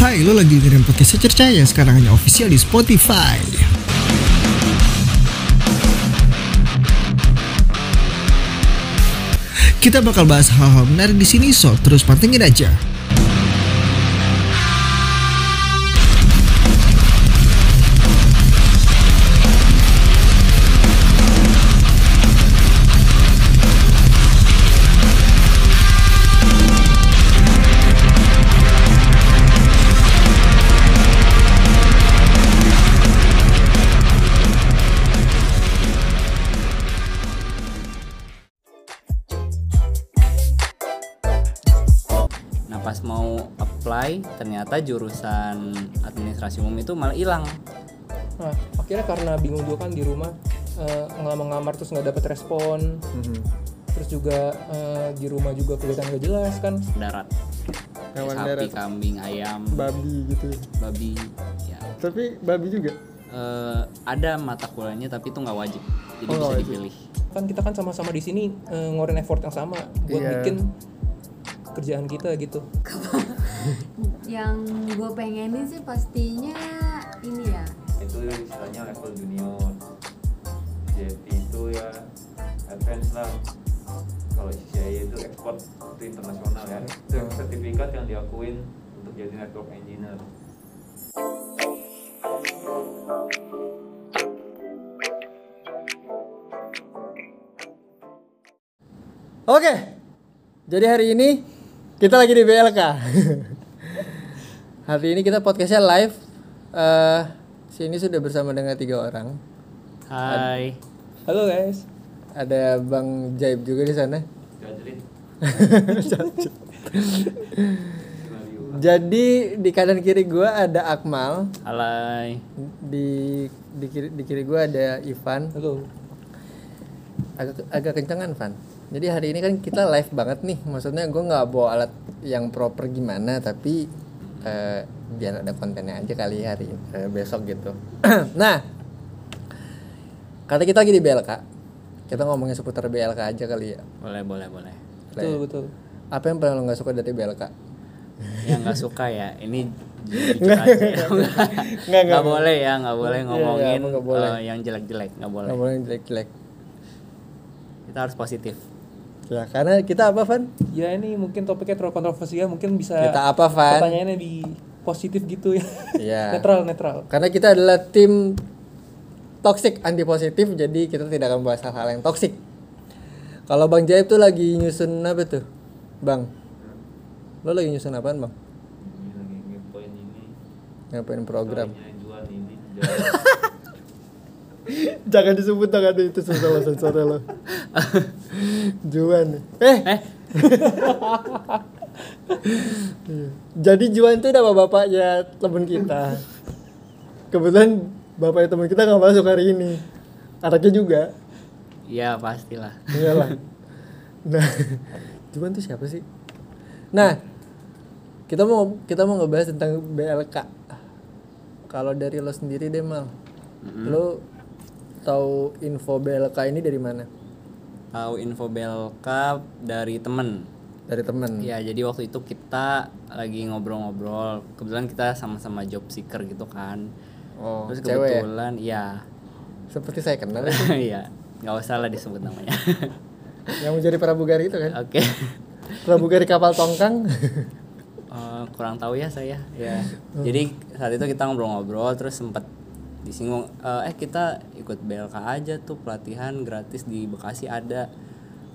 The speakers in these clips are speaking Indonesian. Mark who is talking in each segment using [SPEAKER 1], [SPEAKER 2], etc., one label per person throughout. [SPEAKER 1] Hai, lo lagi dengerin podcast Secerca yang sekarang hanya official di Spotify. Kita bakal bahas hal-hal menarik di sini, so terus pantengin aja.
[SPEAKER 2] Nah pas mau apply ternyata jurusan administrasi umum itu malah hilang.
[SPEAKER 3] Nah, akhirnya karena bingung juga kan di rumah eh, ngelamar-ngelamar terus nggak dapet respon.
[SPEAKER 4] Mhm.
[SPEAKER 3] Terus juga eh, di rumah juga kelihatan nggak jelas kan.
[SPEAKER 2] Darat. Kayak
[SPEAKER 4] Hewan
[SPEAKER 2] Sapi,
[SPEAKER 4] darat.
[SPEAKER 2] kambing, ayam,
[SPEAKER 4] babi gitu
[SPEAKER 2] babi. Ya.
[SPEAKER 4] tapi babi juga
[SPEAKER 2] Eh, ada mata kuliahnya tapi itu nggak wajib. Jadi
[SPEAKER 4] Oh,
[SPEAKER 2] bisa
[SPEAKER 4] wajib.
[SPEAKER 2] dipilih.
[SPEAKER 3] Kan kita kan sama-sama di sini eh, ngorin effort yang sama buat
[SPEAKER 4] Iya.
[SPEAKER 3] bikin kerjaan kita gitu.
[SPEAKER 5] yang gue pengenin sih pastinya ini ya
[SPEAKER 6] itu istilahnya level junior JP itu ya advance lah kalau CCIA itu ekspor itu internasional ya itu sertifikat yang diakuin untuk jadi network engineer
[SPEAKER 4] oke jadi hari ini kita lagi di BLK hari ini kita podcastnya live Eh, sini sudah bersama dengan tiga orang
[SPEAKER 2] Hai.
[SPEAKER 3] Halo guys.
[SPEAKER 4] ada Bang Jaib juga di sana
[SPEAKER 6] Gajrin
[SPEAKER 4] jadi di kanan kiri gua ada Akmal
[SPEAKER 2] Hai.
[SPEAKER 4] di di kiri, di kiri gua ada Ivan
[SPEAKER 3] Halo.
[SPEAKER 4] agak agak kencangan Van jadi hari ini kan kita live banget nih maksudnya gue nggak bawa alat yang proper gimana tapi eh, biar ada kontennya aja kali hari eh, besok gitu nah kata kita lagi di BLK kita ngomongin seputar BLK aja kali ya
[SPEAKER 2] Boleh, boleh, boleh.
[SPEAKER 3] Betul
[SPEAKER 4] Iya.
[SPEAKER 3] betul.
[SPEAKER 4] apa yang paling lo nggak suka dari BLK
[SPEAKER 2] Yang nggak suka ya, ini jujur aja. ya.
[SPEAKER 4] nggak,
[SPEAKER 2] Nggak boleh ya, nggak boleh
[SPEAKER 4] Iya, iya,
[SPEAKER 2] ngomongin
[SPEAKER 4] nggak boleh.
[SPEAKER 2] eh, yang jelek-jelek, nggak boleh.
[SPEAKER 4] nggak boleh jelek-jelek
[SPEAKER 2] Kita harus positif.
[SPEAKER 4] ya karena kita apa Van
[SPEAKER 3] Ya ini mungkin topiknya terlalu kontroversial mungkin bisa
[SPEAKER 4] kita apa Van
[SPEAKER 3] pertanyaannya di positif gitu ya.
[SPEAKER 4] Iya.
[SPEAKER 3] netral netral.
[SPEAKER 4] Karena kita adalah tim toxic anti positif, jadi kita tidak akan bahas hal-hal yang toxic. Kalau Bang Jaib tuh lagi nyusun apa tuh, Bang? Lo lagi nyusun apaan, Bang?
[SPEAKER 6] ini lagi ngepoin ini
[SPEAKER 4] Ngapain program?
[SPEAKER 6] soalnya jual ini jual
[SPEAKER 4] Jangan disebut tangan itu sensor sensor lo. Juan. Eh. Iya. Jadi Juan tuh nama bapaknya teman kita. Kebetulan bapaknya teman kita nggak masuk hari ini. Anaknya juga.
[SPEAKER 2] Ya pastilah.
[SPEAKER 4] Iyalah. Nah, Juan tuh siapa sih? Nah, kita mau kita mau ngebahas tentang BLK. Kalau dari lo sendiri deh mal, lo tahu info BLK ini dari mana?
[SPEAKER 2] Tahu info Belka dari temen.
[SPEAKER 4] Dari teman.
[SPEAKER 2] Ya, jadi waktu itu kita lagi ngobrol-ngobrol. Kebetulan kita sama-sama job seeker gitu kan.
[SPEAKER 4] Oh,
[SPEAKER 2] Terus
[SPEAKER 4] cewek ya?
[SPEAKER 2] kebetulan ya.
[SPEAKER 4] Seperti saya kenal
[SPEAKER 2] Iya. nggak usah lah disebut namanya.
[SPEAKER 4] yang menjadi pramugari itu kan.
[SPEAKER 2] Oke.
[SPEAKER 4] Pramugari kapal tongkang.
[SPEAKER 2] Eh, kurang tahu ya saya. Ya.
[SPEAKER 4] Hmm.
[SPEAKER 2] Jadi saat itu kita ngobrol-ngobrol terus sempat disinggung eh eh, kita ikut BLK aja tuh pelatihan gratis di Bekasi ada.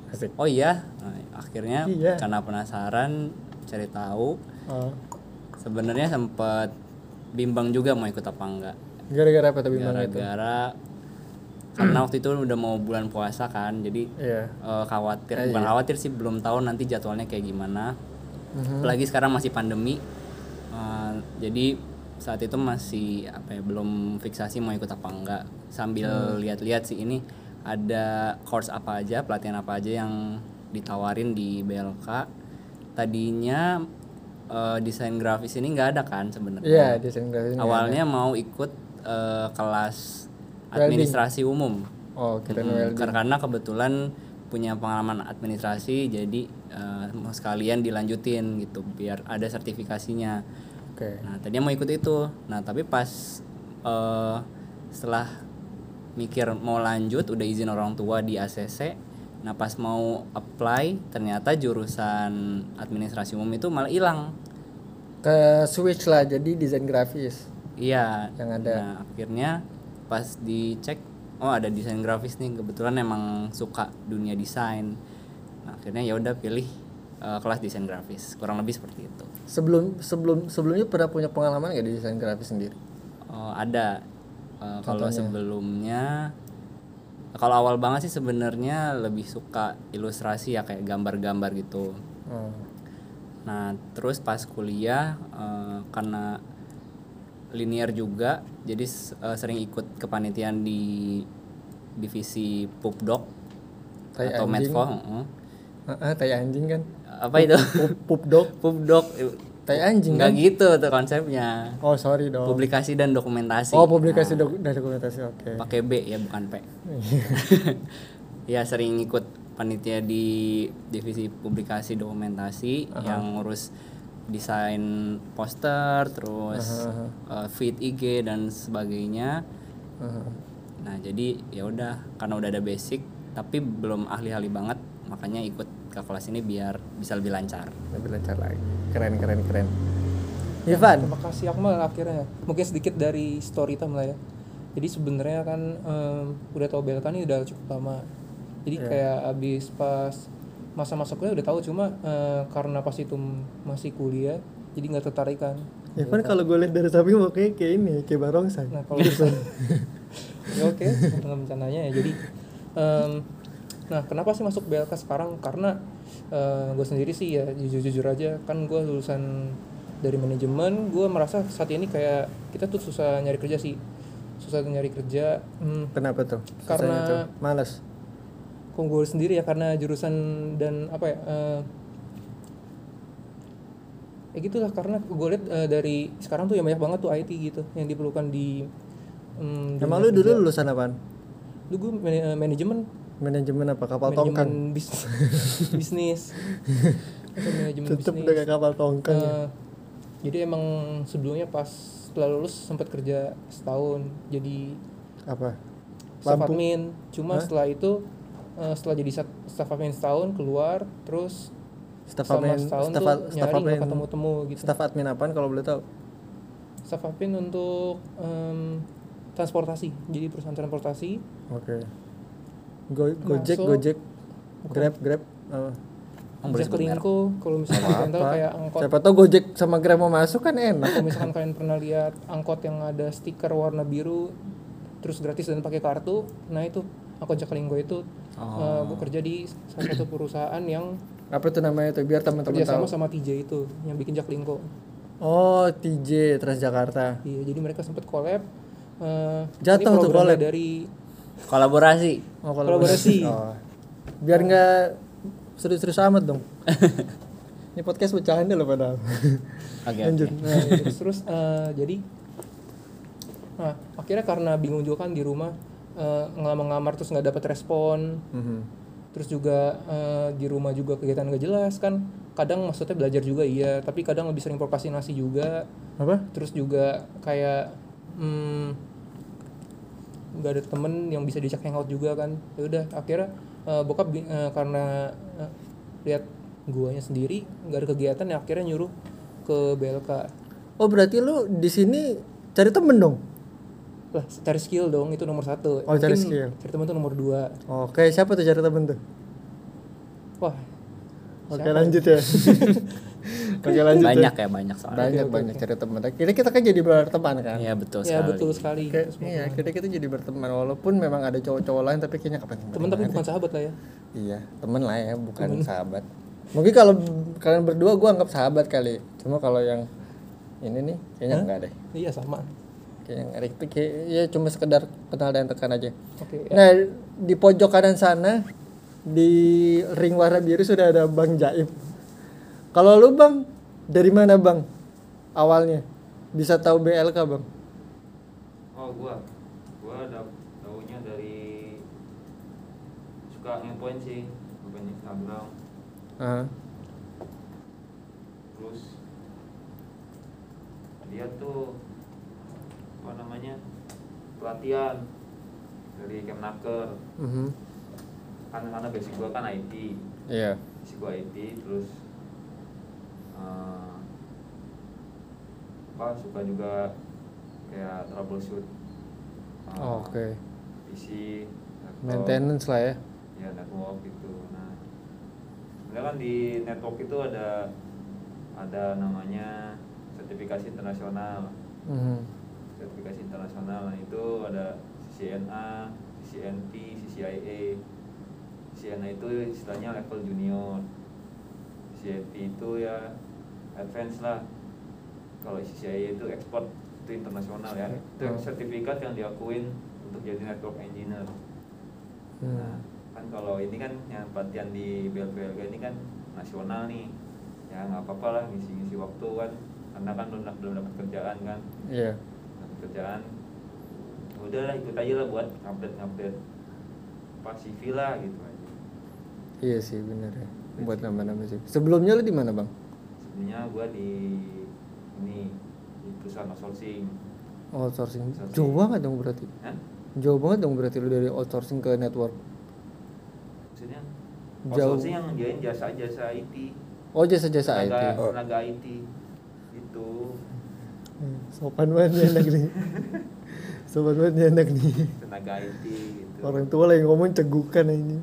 [SPEAKER 4] Asik.
[SPEAKER 2] Oh iya. Nah, akhirnya
[SPEAKER 4] Iya.
[SPEAKER 2] karena penasaran cari tahu
[SPEAKER 4] Oh,
[SPEAKER 2] sebenarnya sempat bimbang juga mau ikut apa enggak.
[SPEAKER 4] Gara-gara apa tapi Bang itu?
[SPEAKER 2] gara-gara karena waktu itu udah mau bulan puasa kan jadi
[SPEAKER 4] Iya.
[SPEAKER 2] eh, khawatir bukan khawatir sih belum tahu nanti jadwalnya kayak gimana
[SPEAKER 4] Mhm.
[SPEAKER 2] apalagi sekarang masih pandemi Eh, jadi saat itu masih apa ya belum fiksasi mau ikut apa enggak sambil
[SPEAKER 4] Hmm.
[SPEAKER 2] lihat-lihat sih ini ada course apa aja pelatihan apa aja yang ditawarin di BLK tadinya eh, desain grafis ini nggak ada kan sebenarnya
[SPEAKER 4] Iya, desain grafis.
[SPEAKER 2] awalnya mau ikut eh, kelas administrasi umum
[SPEAKER 4] Oh, kita
[SPEAKER 2] Hmm, kar- karena kebetulan punya pengalaman administrasi jadi eh, mau sekalian dilanjutin gitu biar ada sertifikasinya
[SPEAKER 4] Oke.
[SPEAKER 2] Nah, tadinya mau ikut itu. Nah, tapi pas eh, setelah mikir mau lanjut udah izin orang tua di ACC. Nah, pas mau apply ternyata jurusan administrasi umum itu malah hilang.
[SPEAKER 4] Ke switch lah jadi desain grafis.
[SPEAKER 2] Iya.
[SPEAKER 4] Yang ada.
[SPEAKER 2] Nah, akhirnya pas dicek, oh ada desain grafis nih. Kebetulan emang suka dunia desain. Nah, akhirnya ya udah pilih eh, kelas desain grafis. Kurang lebih seperti itu.
[SPEAKER 4] Sebelum sebelum sebelumnya pernah punya pengalaman nggak di desain grafis sendiri?
[SPEAKER 2] Oh, ada. Eh, kalau sebelumnya kalau awal banget sih sebenarnya lebih suka ilustrasi ya kayak gambar-gambar gitu.
[SPEAKER 4] Hmm.
[SPEAKER 2] Nah, terus pas kuliah eh, karena linear juga, jadi s- eh, sering ikut kepanitiaan di divisi Pupdok
[SPEAKER 4] Tai
[SPEAKER 2] atau
[SPEAKER 4] anjing.
[SPEAKER 2] Medfo. heeh.
[SPEAKER 4] Ah, ah, tai anjing kan?
[SPEAKER 2] Apa itu?
[SPEAKER 4] Pup dog,
[SPEAKER 2] Pupdok.
[SPEAKER 4] tai anjing
[SPEAKER 2] Enggak
[SPEAKER 4] kan?
[SPEAKER 2] gitu tuh konsepnya.
[SPEAKER 4] Oh sorry dong.
[SPEAKER 2] Publikasi dan dokumentasi.
[SPEAKER 4] Oh publikasi dok- dan dokumentasi oke.
[SPEAKER 2] pakai B ya bukan P ya sering ikut panitia di divisi publikasi dokumentasi yang ngurus desain poster terus eh, feed IG dan sebagainya
[SPEAKER 4] Aha.
[SPEAKER 2] nah jadi ya udah karena udah ada basic tapi belum ahli-ahli banget makanya ikut ke kelas ini biar bisa lebih lancar
[SPEAKER 4] Lebih lancar lagi. Keren keren keren. Nah, Ivan,
[SPEAKER 3] Terima kasih Akmal akhirnya. Mungkin sedikit dari story time lah ya. Jadi sebenarnya kan em, udah tahu belkan ini udah cukup lama. Jadi kayak abis pas masa-masa kuliah udah tahu cuma eh, karena pas itu masih kuliah jadi nggak tertarik kan.
[SPEAKER 4] Ivan kalau gue lihat dari samping mukanya kayak ini, kayak barongsai.
[SPEAKER 3] Nah kalau bisa, ya oke dengan rencananya ya. Jadi, em, nah kenapa sih masuk BLK sekarang? Karena gue sendiri sih ya jujur-jujur aja kan gue lulusan dari manajemen, gue merasa saat ini kayak kita tuh susah nyari kerja sih, susah nyari kerja. Hmm,
[SPEAKER 4] Kenapa tuh?
[SPEAKER 3] Karena-
[SPEAKER 4] Susahnya tuh? males.
[SPEAKER 3] kok gue sendiri ya karena jurusan dan apa ya? eh, ya gitulah karena gue lihat eh, dari sekarang tuh yang banyak banget tuh IT gitu yang diperlukan di hmm, em,
[SPEAKER 4] Emang lu dulu lulusan apaan?
[SPEAKER 3] lu gue manajemen
[SPEAKER 4] Manajemen apa? Kapal tongkang.
[SPEAKER 3] manajemen bis- bisnis Atau manajemen
[SPEAKER 4] Tetep
[SPEAKER 3] bisnis
[SPEAKER 4] dengan kapal tongkang. ya?
[SPEAKER 3] Eh, jadi emang sebelumnya pas setelah lulus sempat kerja setahun jadi
[SPEAKER 4] Apa?
[SPEAKER 3] staff
[SPEAKER 4] Lampu.
[SPEAKER 3] admin cuma setelah itu eh, setelah jadi sat- staff admin setahun keluar terus
[SPEAKER 4] Staff
[SPEAKER 3] selama
[SPEAKER 4] admin,
[SPEAKER 3] setahun
[SPEAKER 4] staff,
[SPEAKER 3] tuh
[SPEAKER 4] staff
[SPEAKER 3] nyari nggak
[SPEAKER 4] admin,
[SPEAKER 3] ketemu-temu gitu
[SPEAKER 4] staff admin apaan kalau boleh tahu?
[SPEAKER 3] staff admin untuk em, transportasi jadi perusahaan transportasi
[SPEAKER 4] Oke. Go, Gojek,
[SPEAKER 3] Masuk.
[SPEAKER 4] Gojek, Grab, Grab. Oh. apa?
[SPEAKER 2] Emang Oh, boleh
[SPEAKER 3] Jasa
[SPEAKER 2] sebut merek?
[SPEAKER 3] Lingko, kalau misalnya di rental kayak angkot
[SPEAKER 4] Siapa tahu Gojek sama Grab mau masuk kan enak.
[SPEAKER 3] kalau misalkan kalian pernah lihat angkot yang ada stiker warna biru terus gratis dan pakai kartu nah itu angkot Jaklinggo itu
[SPEAKER 4] Oh.
[SPEAKER 3] gue kerja di salah satu perusahaan yang
[SPEAKER 4] Apa tuh namanya tuh biar teman-teman tahu.
[SPEAKER 3] kerjasama sama TJ itu yang bikin Jaklinggo
[SPEAKER 4] Oh, TJ Transjakarta.
[SPEAKER 3] iya jadi mereka sempat collab eh,
[SPEAKER 4] Jatuh
[SPEAKER 3] ini
[SPEAKER 4] tuh
[SPEAKER 3] programnya
[SPEAKER 4] collab.
[SPEAKER 3] dari
[SPEAKER 2] kolaborasi
[SPEAKER 4] Oh,
[SPEAKER 3] Kolaborasi.
[SPEAKER 4] Oh. Biar nggak serius-serius amat dong. Ini podcast bercanda loh padahal.
[SPEAKER 2] oke
[SPEAKER 4] Lanjut.
[SPEAKER 2] oke.
[SPEAKER 3] nah, terus terus eh, jadi nah akhirnya karena bingung juga kan di rumah eh, ngelamar-ngelamar terus nggak dapat respon
[SPEAKER 4] Mhm.
[SPEAKER 3] terus juga eh, di rumah juga kegiatan gak jelas kan kadang maksudnya belajar juga iya tapi kadang lebih sering prokrastinasi juga
[SPEAKER 4] Apa?
[SPEAKER 3] terus juga kayak hmm, nggak ada temen yang bisa diajak hangout juga kan ya udah akhirnya eh, bokap bi- eh, karena eh, lihat guanya sendiri nggak ada kegiatan ya akhirnya nyuruh ke BLK
[SPEAKER 4] Oh, berarti lu di sini cari temen dong.
[SPEAKER 3] lah cari skill dong itu nomor satu
[SPEAKER 4] Oh, cari
[SPEAKER 3] Mungkin
[SPEAKER 4] skill.
[SPEAKER 3] cari temen itu nomor dua
[SPEAKER 4] Oke, siapa tuh cari temen tuh?
[SPEAKER 3] wah
[SPEAKER 4] Oke, lanjut ya. Oke, lanjut. ya.
[SPEAKER 2] banyak ya banyak soalnya
[SPEAKER 4] Banyak banyak cari teman. Akhirnya kita kan jadi berteman kan.
[SPEAKER 2] ya betul
[SPEAKER 3] ya
[SPEAKER 2] sekali
[SPEAKER 3] betul sekali
[SPEAKER 4] Kayak- Iya, akhirnya kita jadi berteman walaupun memang ada cowok-cowok lain tapi kayaknya kapan
[SPEAKER 3] temen tapi bukan sahabat lah ya
[SPEAKER 4] Iya, temen lah ya, bukan sahabat. Mungkin kalau kalian berdua gue anggap sahabat kali. Cuma kalau yang ini nih kayaknya enggak deh.
[SPEAKER 3] iya sama
[SPEAKER 4] Kayaknya enggak deh. Itu kayak- ya cuma sekedar kenal dan tekan aja.
[SPEAKER 3] oke
[SPEAKER 4] Nah, di pojok kanan sana di ring warna biru sudah ada Bang Jaib. Kalau lu Bang, dari mana Bang? Awalnya bisa tahu BLK Bang?
[SPEAKER 6] oh gua gua ada taunya dari suka ngepoin sih ngepoin Instagram
[SPEAKER 4] Ah,
[SPEAKER 6] terus dia tuh apa namanya pelatihan dari Kemnaker
[SPEAKER 4] Mhm.
[SPEAKER 6] kan karena basic gua kan IT
[SPEAKER 4] Iya.
[SPEAKER 6] basic gua IT terus eh, apa suka juga kayak troubleshoot eh,
[SPEAKER 4] Oh, Oke.
[SPEAKER 6] PC laptop,
[SPEAKER 4] Maintenance lah ya.
[SPEAKER 6] ya network gitu nah sebenarnya kan di network itu ada ada namanya sertifikasi internasional
[SPEAKER 4] Mhm.
[SPEAKER 6] sertifikasi internasional nah itu ada CCNA, CCNP, CCIA. CCNA itu istilahnya level junior. CCNP itu ya advance lah. Kalau CCIA itu ekspor itu internasional ya. Itu
[SPEAKER 4] Hmm.
[SPEAKER 6] sertifikat yang diakuin untuk jadi network engineer.
[SPEAKER 4] Hmm.
[SPEAKER 6] Nah, kan kalau ini kan yang pelatihan di BLPLG ini kan nasional nih. Ya nggak apa-apa lah ngisi-ngisi waktu kan. Karena kan belum, belum dapat kerjaan kan
[SPEAKER 4] Iya.
[SPEAKER 6] dapat kerjaan udah lah Ya ikut aja lah buat update update pas CV lah gitu aja
[SPEAKER 4] Iya sih bener ya. Buat nambah-nambah sih. Sebelumnya lu di mana bang?
[SPEAKER 6] sebenarnya gua di ini di perusahaan outsourcing
[SPEAKER 4] Outsourcing.
[SPEAKER 6] Outsourcing.
[SPEAKER 4] Jauh banget dong berarti.
[SPEAKER 6] Hah?
[SPEAKER 4] Jauh banget dong berarti lu dari outsourcing ke network.
[SPEAKER 6] maksudnya
[SPEAKER 4] Jauh.
[SPEAKER 6] outsourcing yang jadiin jasa jasa IT
[SPEAKER 4] Oh jasa-jasa IT.
[SPEAKER 6] tenaga
[SPEAKER 4] Oh.
[SPEAKER 6] tenaga Gitu. IT itu
[SPEAKER 4] Hmm, Sopan banget nih anak nih. Sopan banget nih anak nih.
[SPEAKER 6] tenaga IT gitu
[SPEAKER 4] Orang tua lagi ngomong cegukan ini.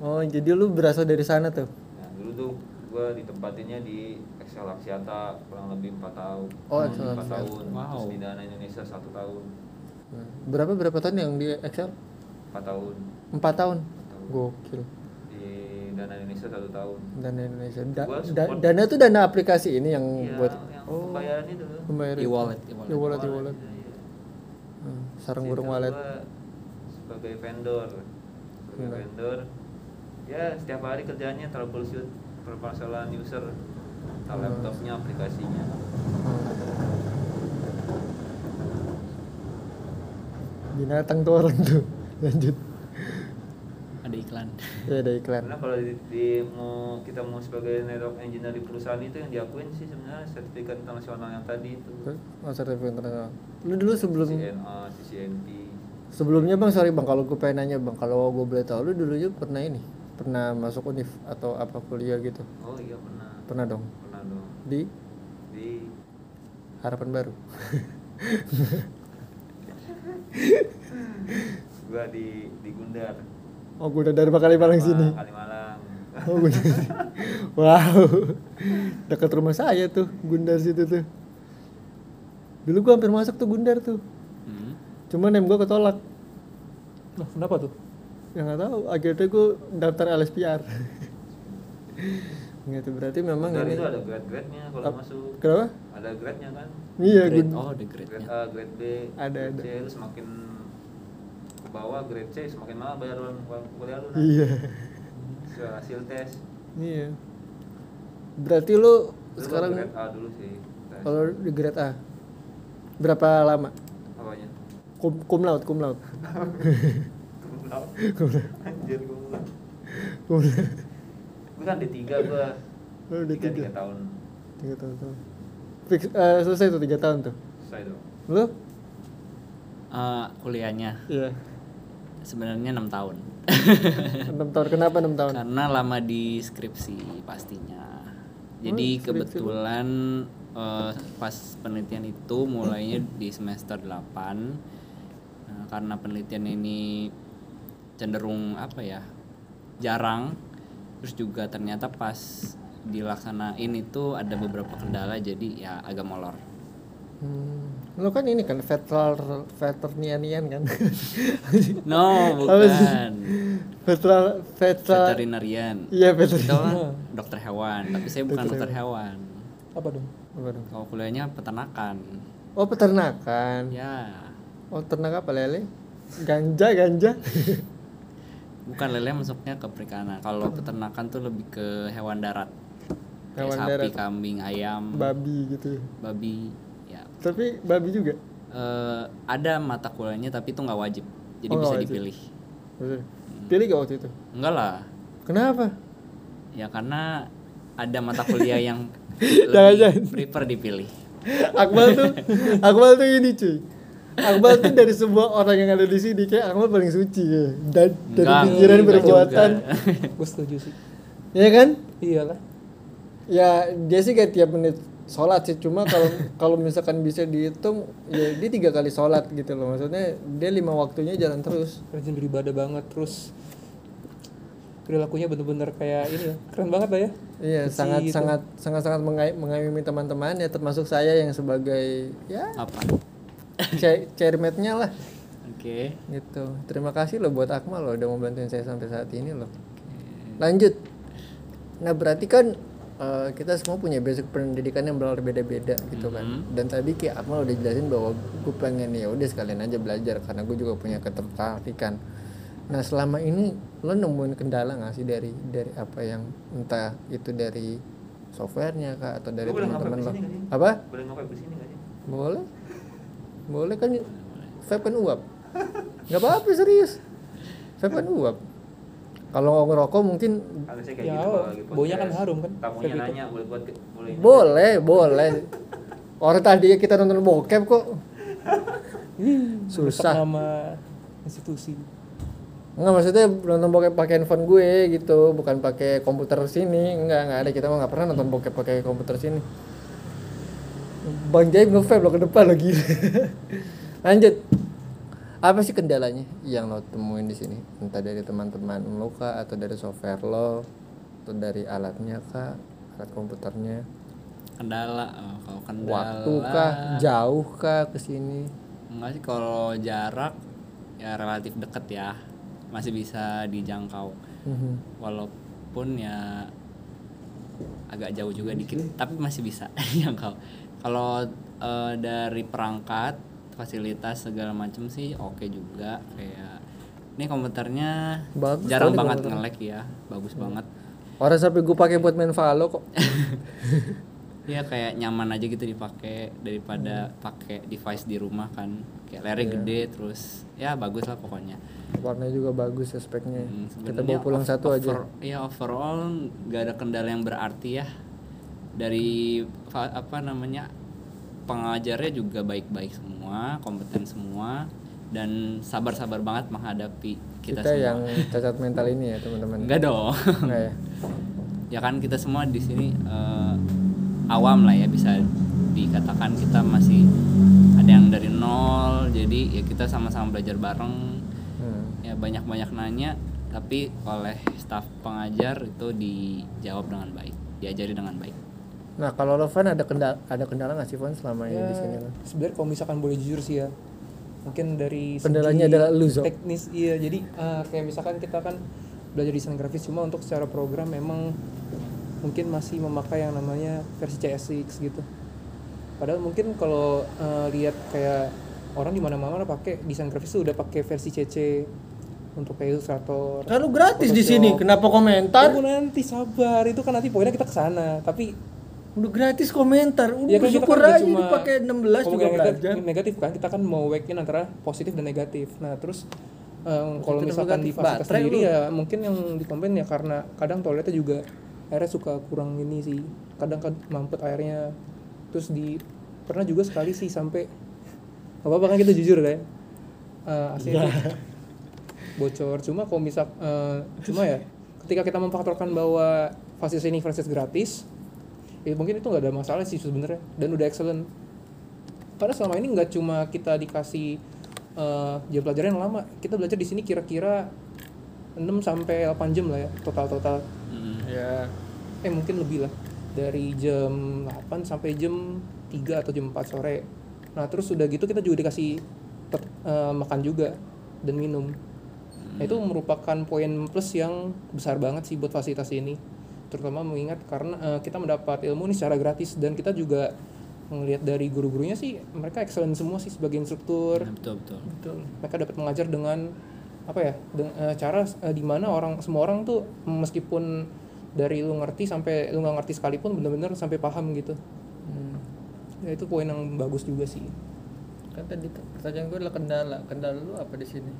[SPEAKER 4] Oh jadi lu berasal dari sana tuh?
[SPEAKER 6] nah, dulu tuh gua ditempatinnya di Excel Aksiata kurang lebih 4 tahun
[SPEAKER 4] Oh,
[SPEAKER 6] Kurang
[SPEAKER 4] Excel
[SPEAKER 6] lebih empat
[SPEAKER 4] Aksiata.
[SPEAKER 6] tahun terus
[SPEAKER 2] Wow.
[SPEAKER 6] di Dana Indonesia satu tahun
[SPEAKER 4] Berapa berapa tahun yang di Excel?
[SPEAKER 6] 4 tahun
[SPEAKER 4] Empat tahun.
[SPEAKER 6] tahun.
[SPEAKER 4] Gokil.
[SPEAKER 6] di Dana Indonesia satu tahun
[SPEAKER 4] Dana Indonesia. Da-
[SPEAKER 6] Gua
[SPEAKER 4] da-
[SPEAKER 6] support.
[SPEAKER 4] dana tuh dana aplikasi ini yang
[SPEAKER 6] Iya,
[SPEAKER 4] buat
[SPEAKER 6] yang
[SPEAKER 4] oh
[SPEAKER 6] pembayaran itu.
[SPEAKER 4] pembayaran.
[SPEAKER 2] E-wallet,
[SPEAKER 4] Di
[SPEAKER 2] e-wallet.
[SPEAKER 4] wallet, di wallet.
[SPEAKER 6] Iya, iya.
[SPEAKER 4] Hmm, sarang
[SPEAKER 6] Jadi
[SPEAKER 4] burung Hmm.
[SPEAKER 6] kalau
[SPEAKER 4] walet. Iya.
[SPEAKER 6] gua Sebagai vendor, sebagai
[SPEAKER 4] Enggak.
[SPEAKER 6] vendor, ya setiap hari kerjanya troubleshoot permasalahan user, entah
[SPEAKER 4] Hmm.
[SPEAKER 6] laptopnya, aplikasinya.
[SPEAKER 4] Binatang tuh orang tuh. Lanjut.
[SPEAKER 2] ada iklan
[SPEAKER 4] Ya ada iklan.
[SPEAKER 6] Karena kalau di, di- mau kita mau sebagai network engineer di perusahaan itu yang diakuin sih sebenarnya sertifikat internasional yang tadi itu.
[SPEAKER 4] Oh, sertifikat internasional. Lu dulu sebelum
[SPEAKER 6] CNA, CCNP.
[SPEAKER 4] sebelumnya Bang, sorry Bang kalau gue pengen nanya Bang, kalau gue boleh tahu lu dulunya pernah ini? Pernah masuk univ atau apa kuliah gitu?
[SPEAKER 6] Oh iya pernah,
[SPEAKER 4] Pernah dong.
[SPEAKER 6] pernah dong.
[SPEAKER 4] Di
[SPEAKER 6] Di
[SPEAKER 4] Harapan Baru.
[SPEAKER 6] gua di di Gundar.
[SPEAKER 4] Oh, gue udah dari Kalimalang sini.
[SPEAKER 6] Kalimalang.
[SPEAKER 4] Oh, Gundar. wow. Dekat rumah saya tuh, Gundar situ tuh. Dulu gua hampir masuk tuh Gundar tuh.
[SPEAKER 2] Hmm.
[SPEAKER 4] Cuman name gua ketolak.
[SPEAKER 3] Nah, kenapa tuh?
[SPEAKER 4] Ya nggak tahu, akhirnya gua daftar LSPR. Gitu, berarti memang
[SPEAKER 6] Gundar
[SPEAKER 4] ini.
[SPEAKER 6] itu ada grade-grade-nya kalau
[SPEAKER 4] Ap-
[SPEAKER 6] masuk.
[SPEAKER 4] Kenapa?
[SPEAKER 6] Ada grade-nya kan.
[SPEAKER 4] Iya,
[SPEAKER 2] grade
[SPEAKER 4] Gun-
[SPEAKER 2] oh ada grade nya
[SPEAKER 6] Grade uh, A, grade B,
[SPEAKER 4] Ada,
[SPEAKER 6] grade
[SPEAKER 4] ada.
[SPEAKER 6] C lu semakin ke bawah grade C semakin mahal bayar uang uang kuliah lu. Nat.
[SPEAKER 4] Iya.
[SPEAKER 6] Sesuai hasil tes.
[SPEAKER 4] Iya. Berarti lu
[SPEAKER 6] Lu
[SPEAKER 4] sekarang
[SPEAKER 6] grade A dulu sih. Tes.
[SPEAKER 4] kalau di grade A berapa lama?
[SPEAKER 6] Apanya?
[SPEAKER 4] Kum, cum laut, cum laut.
[SPEAKER 6] Kumlau. Anjir kumlau.
[SPEAKER 4] Cum laut.
[SPEAKER 6] Gua kan D3 gua.
[SPEAKER 4] Lu udah
[SPEAKER 6] Tiga,
[SPEAKER 4] tiga.
[SPEAKER 6] tiga tahun.
[SPEAKER 4] Tiga tahun. Gitu, tuh. Fix, eh, selesai tuh tiga tahun tuh.
[SPEAKER 6] Selesai dong.
[SPEAKER 4] Lu?
[SPEAKER 2] Eh, kuliahnya
[SPEAKER 4] Iya.
[SPEAKER 2] sebenarnya enam tahun
[SPEAKER 4] Enam tahun. Kenapa enam tahun?
[SPEAKER 2] karena lama di skripsi pastinya jadi
[SPEAKER 4] Oh, skripsi lu?
[SPEAKER 2] kebetulan eh, pas penelitian itu mulainya di semester 8 Nah, karena penelitian ini cenderung apa ya jarang terus juga ternyata pas dilaksanain itu ada beberapa kendala jadi ya agak molor
[SPEAKER 4] Hmm. Lu kan ini kan veteran veteranian kan.
[SPEAKER 2] no
[SPEAKER 4] Apa sih?
[SPEAKER 2] bukan
[SPEAKER 4] veteran veteran.
[SPEAKER 2] veterinarian
[SPEAKER 4] Iya
[SPEAKER 2] itu
[SPEAKER 4] veteran.
[SPEAKER 2] kan dokter hewan tapi saya bukan dokter hewan
[SPEAKER 3] Apa dong?
[SPEAKER 4] Apa dong?
[SPEAKER 2] kalau kuliahnya peternakan
[SPEAKER 4] Oh peternakan.
[SPEAKER 2] ya
[SPEAKER 4] Oh ternak apa lele? Ganja ganja.
[SPEAKER 2] bukan lele masuknya ke perikanan kalau peternakan tuh lebih ke hewan darat kayak
[SPEAKER 4] Hewan
[SPEAKER 2] sapi
[SPEAKER 4] darat.
[SPEAKER 2] kambing ayam
[SPEAKER 4] Babi gitu. ya.
[SPEAKER 2] babi ya
[SPEAKER 4] Tapi babi juga.
[SPEAKER 2] Eh, ada mata kuliahnya tapi itu nggak wajib jadi
[SPEAKER 4] Oh, nggak
[SPEAKER 2] bisa
[SPEAKER 4] wajib.
[SPEAKER 2] dipilih
[SPEAKER 4] Betul. Pilih gak waktu itu?
[SPEAKER 2] enggak lah
[SPEAKER 4] Kenapa?
[SPEAKER 2] ya karena ada mata kuliah yang
[SPEAKER 4] Jangan, jangan.
[SPEAKER 2] lebih prefer dipilih
[SPEAKER 4] Akmal tuh Akmal tuh ini cuy Akmal tuh dari semua orang yang ada di sini kayak Akmal paling suci ya. Dan dari
[SPEAKER 2] Enggak,
[SPEAKER 4] pikiran
[SPEAKER 2] enggak
[SPEAKER 4] perbuatan.
[SPEAKER 2] juga.
[SPEAKER 3] gue setuju sih
[SPEAKER 4] Ya kan?
[SPEAKER 3] iyalah
[SPEAKER 4] Ya dia sih kayak tiap menit sholat sih cuma kalau kalau misalkan bisa dihitung ya dia tiga kali sholat gitu loh maksudnya dia lima waktunya jalan terus
[SPEAKER 3] rajin beribadah banget terus perilakunya bener-bener kayak ini ya keren banget lah ya
[SPEAKER 4] iya
[SPEAKER 3] Suci
[SPEAKER 4] sangat
[SPEAKER 3] gitu.
[SPEAKER 4] sangat sangat sangat mengai- mengayomi teman-teman ya termasuk saya yang sebagai ya
[SPEAKER 2] apa
[SPEAKER 4] chair- chairmate-nya lah
[SPEAKER 2] oke
[SPEAKER 4] gitu terima kasih loh buat Akmal loh udah mau bantuin saya sampai saat ini loh lanjut nah berarti kan eh, kita semua punya basic pendidikan yang berbeda-beda gitu kan dan tadi kayak Akmal udah jelasin bahwa gue pengen ya udah sekalian aja belajar karena gue juga punya ketertarikan nah selama ini lo nemuin kendala nggak sih dari dari apa yang entah itu dari softwarenya kak atau dari
[SPEAKER 6] Lo boleh
[SPEAKER 4] teman-teman lo
[SPEAKER 6] ngapel di sini nggak sih?
[SPEAKER 4] apa
[SPEAKER 6] boleh ngapain di sini nggak sih
[SPEAKER 4] boleh. Boleh kan vape kan uap. Gak apa-apa serius. Vape kan uap. Kalau nggak ngerokok mungkin
[SPEAKER 6] harusnya kayak
[SPEAKER 3] Ya,
[SPEAKER 6] gitu kalau lagi
[SPEAKER 3] baunya kan
[SPEAKER 6] podcast.
[SPEAKER 3] harum kan,
[SPEAKER 6] tamunya
[SPEAKER 3] kayak gitu.
[SPEAKER 6] nanya boleh buat ke- boleh ini
[SPEAKER 4] boleh, boleh. Orang tadi kita nonton bokep kok.
[SPEAKER 3] Merusak
[SPEAKER 4] Susah.
[SPEAKER 3] nama institusi
[SPEAKER 4] Enggak maksudnya nonton bokep pakai handphone gue gitu, bukan pakai komputer sini. Enggak, enggak ada kita mah nggak pernah nonton bokep pakai komputer sini. Bang Jaim nge-vape lo ke depan lo gila. Lanjut. Apa sih kendalanya yang lo temuin di sini? Entah dari teman-teman lo kah atau dari software lo atau dari alatnya kah? Alat komputernya.
[SPEAKER 2] kendala oh, kalau kendala
[SPEAKER 4] Waktu kah? Jauh kah ke sini?
[SPEAKER 2] enggak sih kalau jarak ya relatif deket ya masih bisa dijangkau
[SPEAKER 4] Mhm.
[SPEAKER 2] walaupun ya agak jauh juga dikit tapi masih bisa dijangkau kalau eh, dari perangkat fasilitas segala macam sih oke juga kayak ini komputernya
[SPEAKER 4] Bagus
[SPEAKER 2] jarang
[SPEAKER 4] kali
[SPEAKER 2] banget
[SPEAKER 4] komputernya.
[SPEAKER 2] nge-lag ya bagus banget
[SPEAKER 4] Orang sampai gue pakai buat main Valo kok.
[SPEAKER 2] ya kayak nyaman aja gitu dipakai
[SPEAKER 4] Hmm.
[SPEAKER 2] daripada pakai device di rumah kan kayak
[SPEAKER 4] Iya.
[SPEAKER 2] layarnya gede terus ya bagus lah pokoknya
[SPEAKER 4] Warnanya juga bagus ya speknya.
[SPEAKER 2] Hmm,
[SPEAKER 4] Kita
[SPEAKER 2] sebenarnya
[SPEAKER 4] bawa pulang
[SPEAKER 2] ov-
[SPEAKER 4] satu aja.
[SPEAKER 2] over- Iya overall nggak ada kendala yang berarti ya dari fa- apa namanya pengajarnya juga baik-baik semua, kompeten semua dan sabar-sabar banget menghadapi
[SPEAKER 4] kita,
[SPEAKER 2] kita, semua.
[SPEAKER 4] yang cacat mental ini ya teman-teman
[SPEAKER 2] Enggak dong.
[SPEAKER 4] Enggak ya
[SPEAKER 2] ya kan kita semua di sini eh, awam lah ya bisa dikatakan kita masih ada yang dari nol jadi ya kita sama-sama belajar bareng
[SPEAKER 4] Hmm.
[SPEAKER 2] ya banyak-banyak nanya tapi oleh staf pengajar itu dijawab dengan baik diajari dengan baik
[SPEAKER 4] nah kalau lo Van ada kendala ada kendala nggak sih Van selama ini
[SPEAKER 3] ya
[SPEAKER 4] di sini Van?
[SPEAKER 3] sebenarnya kalau misalkan boleh jujur sih ya mungkin dari
[SPEAKER 4] Kendalanya
[SPEAKER 3] segi
[SPEAKER 4] adalah lu, Zok.
[SPEAKER 3] teknis iya jadi eh, kayak misalkan kita kan belajar desain grafis cuma untuk secara program memang mungkin masih memakai yang namanya versi CSX gitu padahal mungkin kalau eh, lihat kayak orang di mana-mana pakai desain grafis tuh udah pakai versi CC untuk kayak Illustrator
[SPEAKER 4] kan lu gratis di sini
[SPEAKER 3] Photoshop.
[SPEAKER 4] kenapa komentar
[SPEAKER 3] Tunggu nanti sabar itu kan nanti poinnya kita ke sana tapi
[SPEAKER 4] lu gratis komentar lu
[SPEAKER 3] Iya kan kita
[SPEAKER 4] bersyukur
[SPEAKER 3] kan nggak
[SPEAKER 4] aja
[SPEAKER 3] cuma
[SPEAKER 4] dipakai 16
[SPEAKER 3] ngomong
[SPEAKER 4] juga
[SPEAKER 3] yang negatif,
[SPEAKER 4] belajar
[SPEAKER 3] negatif kan kita kan mau weigh in antara positif dan negatif nah terus em, kalau
[SPEAKER 4] dan
[SPEAKER 3] misalkan di
[SPEAKER 4] negatif,
[SPEAKER 3] fasilitas
[SPEAKER 4] baterai
[SPEAKER 3] sendiri
[SPEAKER 4] lu.
[SPEAKER 3] ya mungkin yang dikomplain ya karena kadang toiletnya juga airnya suka kurang ini sih kadang kan mampet airnya terus di pernah juga sekali sih sampai gak apa-apa kan kita jujur lah ya Eh, AC itu bocor cuma kalau misal eh, cuma ya ketika kita memfaktorkan bahwa fasilitas ini fasilitas gratis ya mungkin itu nggak ada masalah sih sebenarnya dan udah excellent karena selama ini nggak cuma kita dikasih eh, jam pelajaran yang lama kita belajar di sini kira-kira 6 sampai 8 jam lah ya total total
[SPEAKER 2] Mm.
[SPEAKER 4] ya
[SPEAKER 3] eh mungkin lebih lah dari jam 8 sampai jam 3 atau jam 4 sore nah terus udah gitu kita juga dikasih tet- eh, makan juga dan minum Nah, itu merupakan poin plus yang besar banget sih buat fasilitas ini terutama mengingat karena eh, kita mendapat ilmu ini secara gratis dan kita juga melihat dari guru-gurunya sih mereka excellent semua sih sebagai instruktur
[SPEAKER 2] Nah, betul betul
[SPEAKER 3] Betul. Mereka dapat mengajar dengan apa ya? deng- eh, cara eh, di mana orang semua orang tuh meskipun dari lu ngerti sampai lu nggak ngerti sekalipun bener-bener sampai paham gitu. Ya itu poin yang bagus juga sih.
[SPEAKER 4] kan tadi tuh pertanyaan gue adalah kendala kendala lu apa di sini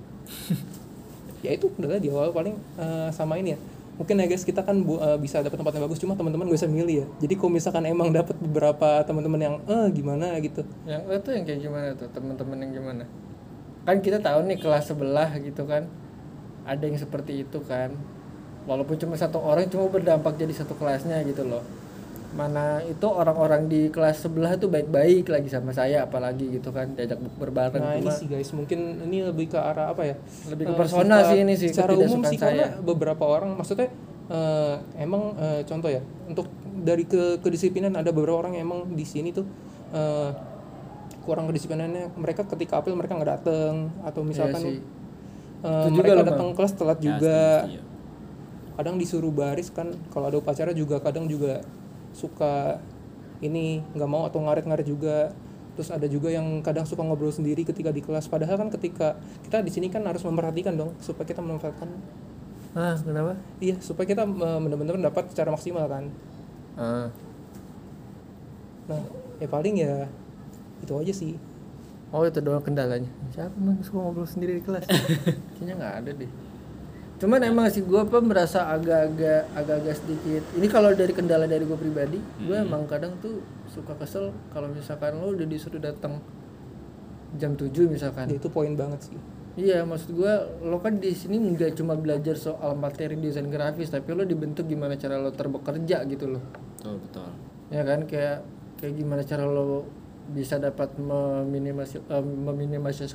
[SPEAKER 3] Ya itu kendala di awal paling eh, sama ini ya. mungkin ya guys kita kan bu- eh, bisa dapat tempat yang bagus cuma teman-teman gak bisa milih ya jadi kalau misalkan emang dapat beberapa teman-teman yang eh gimana gitu
[SPEAKER 4] yang itu Ya, yang kayak gimana tuh teman-teman yang gimana kan kita tahu nih kelas sebelah gitu kan ada yang seperti itu kan walaupun cuma satu orang cuma berdampak jadi satu kelasnya gitu loh mana itu orang-orang di kelas sebelah tuh baik-baik lagi sama saya apalagi gitu kan diajak bukber bareng kan.
[SPEAKER 3] nah ini
[SPEAKER 4] cuma
[SPEAKER 3] sih guys mungkin ini lebih ke arah apa ya
[SPEAKER 4] Lebih ke
[SPEAKER 3] Eh,
[SPEAKER 4] personal
[SPEAKER 3] sifat-
[SPEAKER 4] sih ini sih,
[SPEAKER 3] secara umum
[SPEAKER 4] ketidaksukaan
[SPEAKER 3] sih karena beberapa orang maksudnya eh, emang eh, contoh ya untuk dari ke kedisiplinan ada beberapa orang yang emang di sini tuh eh, kurang kedisiplinannya mereka ketika apel mereka nggak dateng atau misalkan
[SPEAKER 4] Iya sih.
[SPEAKER 3] eh,
[SPEAKER 4] Itu juga
[SPEAKER 3] mereka
[SPEAKER 4] loh, Bang.
[SPEAKER 3] datang kelas telat
[SPEAKER 2] Ya,
[SPEAKER 3] juga
[SPEAKER 2] setuju.
[SPEAKER 3] kadang disuruh baris kan kalau ada upacara juga kadang juga suka ini nggak mau atau ngaret-ngaret juga terus ada juga yang kadang suka ngobrol sendiri ketika di kelas padahal kan ketika kita di sini kan harus memperhatikan dong supaya kita memanfaatkan
[SPEAKER 4] ah kenapa
[SPEAKER 3] iya supaya kita eh, benar-benar dapat secara maksimal kan
[SPEAKER 4] ah
[SPEAKER 3] nah ya paling ya itu aja sih
[SPEAKER 4] Oh itu doang kendalanya. Siapa emang suka ngobrol sendiri di kelas? Kayaknya nggak ada deh. Cuman emang sih gue apa merasa agak-agak agak-agak sedikit. Ini kalau dari kendala dari gue pribadi, gue emang kadang tuh suka kesel kalau misalkan lo udah disuruh datang jam 7 misalkan.
[SPEAKER 3] Ya, itu poin banget sih
[SPEAKER 4] Iya, maksud gua lo kan di sini nggak cuma belajar soal materi desain grafis, tapi lo dibentuk gimana cara lo terbekerja gitu loh
[SPEAKER 2] betul betul
[SPEAKER 4] ya kan kayak kayak gimana cara lo bisa dapat meminimasi eh, meminimalisasi